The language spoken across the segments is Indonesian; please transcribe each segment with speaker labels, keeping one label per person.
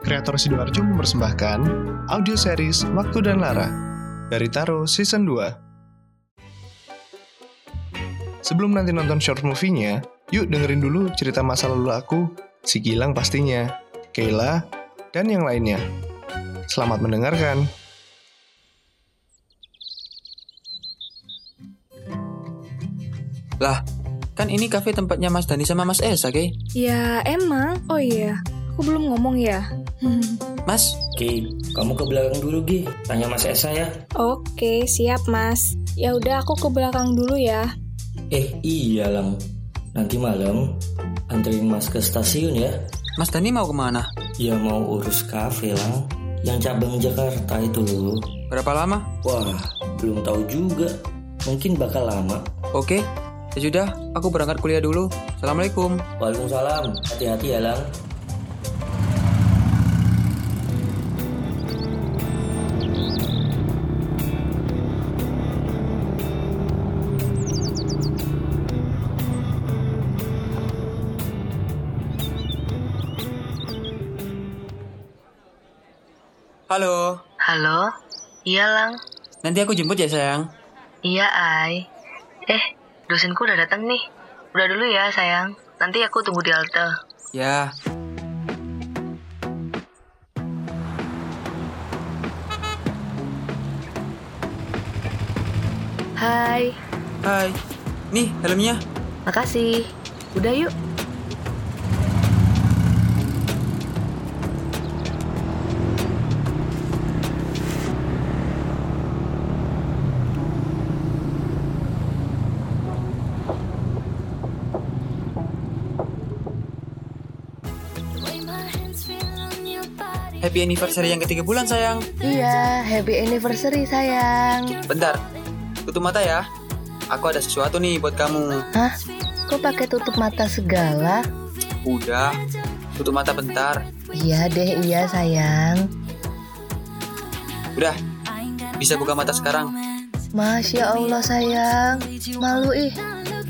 Speaker 1: kreator Sidoarjo mempersembahkan audio series Waktu dan Lara dari Taro Season 2. Sebelum nanti nonton short movie-nya, yuk dengerin dulu cerita masa lalu aku, si Gilang pastinya, Kayla, dan yang lainnya. Selamat mendengarkan.
Speaker 2: Lah, kan ini kafe tempatnya Mas Dani sama Mas Esa, Kay.
Speaker 3: Ya emang, oh iya, aku belum ngomong ya. Hmm,
Speaker 2: Mas,
Speaker 4: Ki, kamu ke belakang dulu Ki, tanya Mas Esa ya.
Speaker 3: Oke, siap mas. Ya udah aku ke belakang dulu ya.
Speaker 4: Eh iya Lang, nanti malam anterin Mas ke stasiun ya.
Speaker 2: Mas Dani mau kemana?
Speaker 4: Ya mau urus kafe Lang, yang cabang Jakarta itu loh.
Speaker 2: Berapa lama?
Speaker 4: Wah, belum tahu juga, mungkin bakal lama.
Speaker 2: Oke, ya sudah, aku berangkat kuliah dulu. Assalamualaikum.
Speaker 4: Waalaikumsalam, hati-hati ya Lang.
Speaker 2: Halo,
Speaker 5: Halo? Iya, Lang.
Speaker 2: nanti aku jemput ya sayang.
Speaker 5: Iya, Ai. Eh, dosenku udah datang nih. Udah dulu ya, sayang. Nanti aku tunggu di halte.
Speaker 2: Ya,
Speaker 5: Hai.
Speaker 2: hai. Nih, helmnya.
Speaker 5: Makasih. Udah yuk.
Speaker 2: Happy anniversary yang ketiga bulan, sayang.
Speaker 5: Iya, happy anniversary, sayang.
Speaker 2: Bentar, tutup mata ya. Aku ada sesuatu nih buat kamu.
Speaker 5: Hah? Kok pakai tutup mata segala?
Speaker 2: Udah, tutup mata bentar.
Speaker 5: Iya deh, iya, sayang.
Speaker 2: Udah, bisa buka mata sekarang.
Speaker 5: Masya Allah, sayang. Malu ih.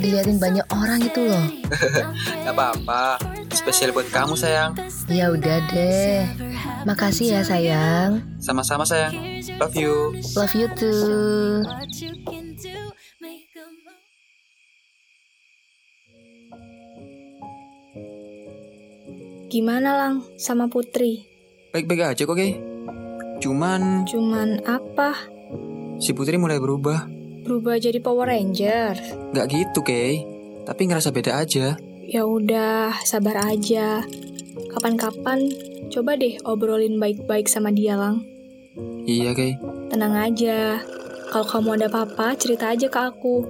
Speaker 5: Diliatin banyak orang itu loh.
Speaker 2: Gak apa-apa, spesial buat kamu, sayang.
Speaker 5: Ya udah deh. Makasih ya, sayang.
Speaker 2: Sama-sama, sayang. Love you.
Speaker 5: Love you too.
Speaker 3: Gimana lang sama Putri?
Speaker 2: Baik-baik aja kok, Kay. Cuman
Speaker 3: Cuman apa?
Speaker 2: si Putri mulai berubah.
Speaker 3: Berubah jadi Power Ranger?
Speaker 2: Nggak gitu, Kay. Tapi ngerasa beda aja.
Speaker 3: Ya udah, sabar aja. Kapan-kapan coba deh obrolin baik-baik sama dia lang.
Speaker 2: Iya, Kay.
Speaker 3: Tenang aja. Kalau kamu ada apa-apa, cerita aja ke aku.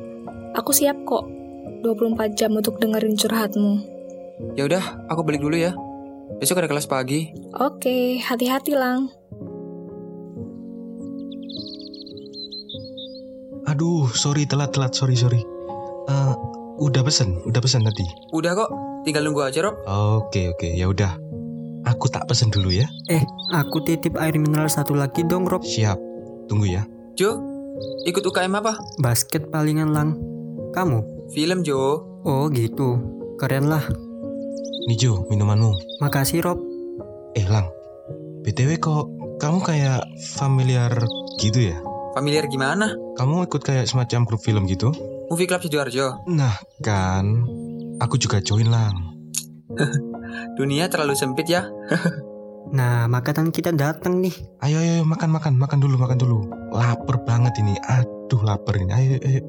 Speaker 3: Aku siap kok. 24 jam untuk dengerin curhatmu.
Speaker 2: Ya udah, aku balik dulu ya. Besok ada kelas pagi.
Speaker 3: Oke, hati-hati lang.
Speaker 6: Aduh, sorry telat telat, sorry sorry. Eh, udah pesen, udah pesen tadi.
Speaker 2: Udah kok, tinggal nunggu aja, Rob.
Speaker 6: Oke oke, ya udah. Aku tak pesen dulu ya.
Speaker 7: Eh, Aku titip air mineral satu lagi dong, Rob.
Speaker 6: Siap. Tunggu ya.
Speaker 2: Jo, ikut UKM apa?
Speaker 7: Basket palingan lang. Kamu?
Speaker 2: Film, Jo.
Speaker 7: Oh gitu. Keren lah.
Speaker 6: Nijo, minumanmu.
Speaker 7: Makasih, Rob.
Speaker 6: Eh, Lang. BTW kok kamu kayak familiar gitu ya?
Speaker 2: Familiar gimana?
Speaker 6: Kamu ikut kayak semacam grup film gitu?
Speaker 2: Movie Club Sidoarjo.
Speaker 6: Nah, kan aku juga join, Lang.
Speaker 2: Dunia terlalu sempit ya.
Speaker 7: Nah, makanan kita datang nih.
Speaker 6: Ayo, ayo, ayo, makan, makan, makan dulu, makan dulu. Laper banget ini. Aduh, lapar ini. Ayo, ayo, ayo.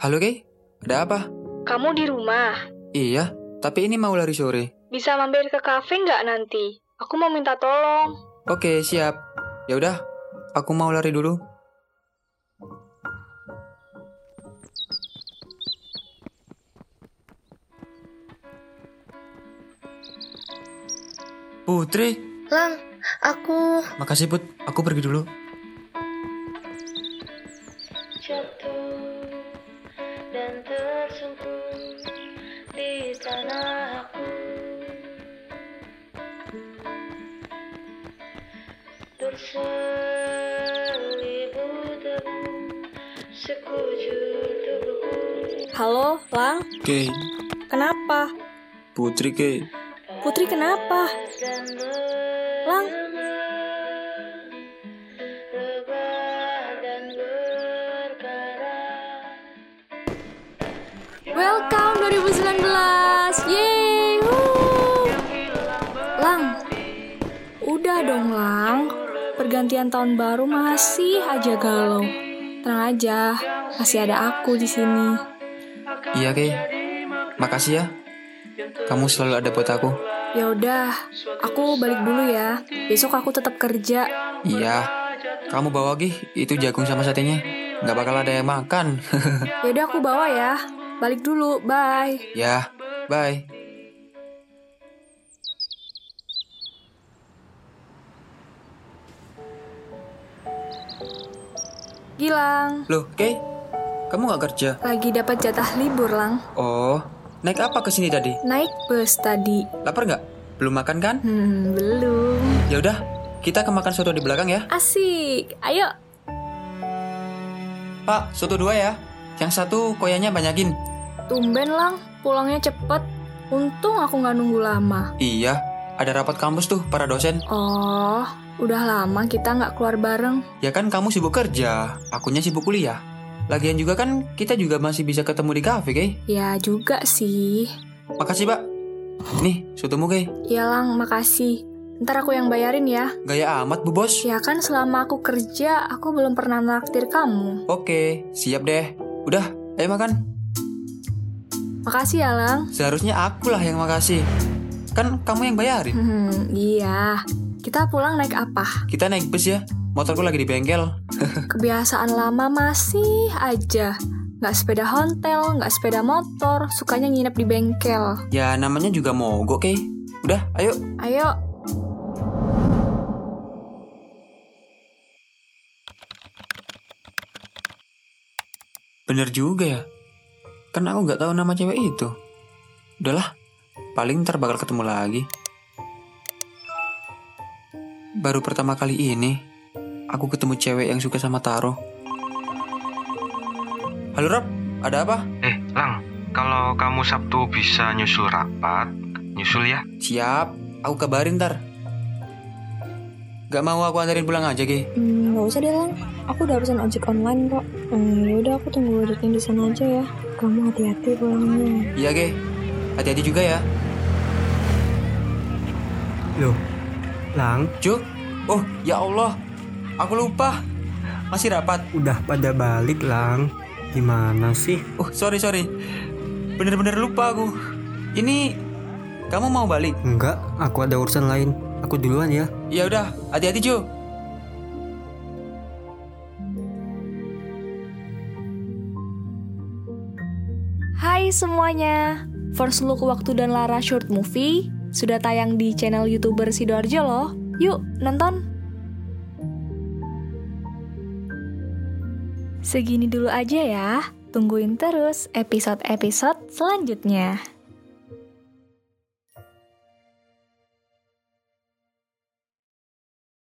Speaker 2: Halo, Kay. Ada apa?
Speaker 3: Kamu di rumah,
Speaker 2: Iya, tapi ini mau lari sore.
Speaker 3: bisa mampir ke kafe nggak nanti? Aku mau minta tolong.
Speaker 2: Oke, siap. Ya udah, aku mau lari dulu. Putri,
Speaker 5: Lang, aku
Speaker 2: Makasih Put, aku pergi dulu.
Speaker 8: jatuh dan tersungkur di tanah aku berselibu debu sekujur tubuhku
Speaker 3: Halo, Lang?
Speaker 2: Kei,
Speaker 3: Kenapa?
Speaker 2: Putri Kei.
Speaker 3: Putri kenapa? Lang? Welcome 2019. Yeay. wuh. Lang. Udah dong, Lang. Pergantian tahun baru masih aja galau. Tenang aja, masih ada aku di sini.
Speaker 2: Iya Kei, makasih ya. Kamu selalu ada buat aku.
Speaker 3: Ya udah, aku balik dulu ya. Besok aku tetap kerja.
Speaker 2: Iya, kamu bawa Ki, itu jagung sama satenya. Nggak bakal ada yang makan.
Speaker 3: Ya udah aku bawa ya. Balik dulu, bye.
Speaker 2: ya, bye.
Speaker 3: Gilang,
Speaker 2: Loh, Kei, kamu nggak kerja?
Speaker 3: lagi dapat jatah libur, Lang.
Speaker 2: Oh, naik apa ke sini tadi?
Speaker 3: Naik bus tadi.
Speaker 2: Lapar nggak? Belum makan kan?
Speaker 3: Hmm, belum.
Speaker 2: Ya udah, kita ke makan soto di belakang ya.
Speaker 3: Asik. Ayo.
Speaker 2: Pak, soto dua ya. Yang satu koyanya banyakin.
Speaker 3: Tumben, Lang. Pulangnya cepet. Untung aku nggak nunggu lama.
Speaker 2: Iya, ada rapat kampus tuh para dosen.
Speaker 3: Oh, udah lama kita nggak keluar bareng.
Speaker 2: Ya kan kamu sibuk kerja, akunya sibuk kuliah. Lagian juga kan kita juga masih bisa ketemu di kafe, Kei.
Speaker 3: Ya juga sih.
Speaker 2: Makasih, Pak. Nih, sotomu, Kei.
Speaker 3: Ya, Lang, makasih. Ntar aku yang bayarin ya.
Speaker 2: Gaya amat, Bu Bos.
Speaker 3: Ya kan selama aku kerja, aku belum pernah naktir kamu.
Speaker 2: Oke, siap deh. Udah, ayo makan.
Speaker 3: Makasih ya, Lang.
Speaker 2: Seharusnya akulah yang makasih. Kan kamu yang bayarin.
Speaker 3: Hmm, iya. Kita pulang naik apa?
Speaker 2: Kita naik bus ya. Motorku lagi di bengkel.
Speaker 3: Kebiasaan lama masih aja. Nggak sepeda hontel, nggak sepeda motor, sukanya nginep di bengkel.
Speaker 2: Ya namanya juga mogok, Kei. Udah, ayo.
Speaker 3: Ayo.
Speaker 2: Bener juga ya. Kan aku nggak tahu nama cewek itu. Udahlah, paling ntar bakal ketemu lagi. Baru pertama kali ini, aku ketemu cewek yang suka sama Taro. Halo Rob, ada apa?
Speaker 6: Eh, Lang, kalau kamu Sabtu bisa nyusul rapat, nyusul ya.
Speaker 2: Siap, aku kabarin ntar. Gak mau aku anterin pulang aja, Ki.
Speaker 9: Hmm, gak usah deh lang, aku udah urusan ojek online kok. Hmm, yaudah aku tunggu ojeknya di sana aja ya. Kamu hati-hati pulangnya.
Speaker 2: Iya, Ki. Hati-hati juga ya.
Speaker 7: Loh, Lang,
Speaker 2: Cuk. Oh, ya Allah. Aku lupa. Masih rapat.
Speaker 7: udah pada balik, Lang. Gimana sih?
Speaker 2: Oh, sorry, sorry. Bener-bener lupa aku. Ini kamu mau balik?
Speaker 7: Enggak, aku ada urusan lain. Aku duluan ya.
Speaker 2: Ya udah, hati-hati, Ju.
Speaker 3: Hai semuanya. First Look Waktu dan Lara Short Movie sudah tayang di channel YouTuber Sidoarjo loh. Yuk, nonton. Segini dulu aja ya. Tungguin terus episode-episode selanjutnya.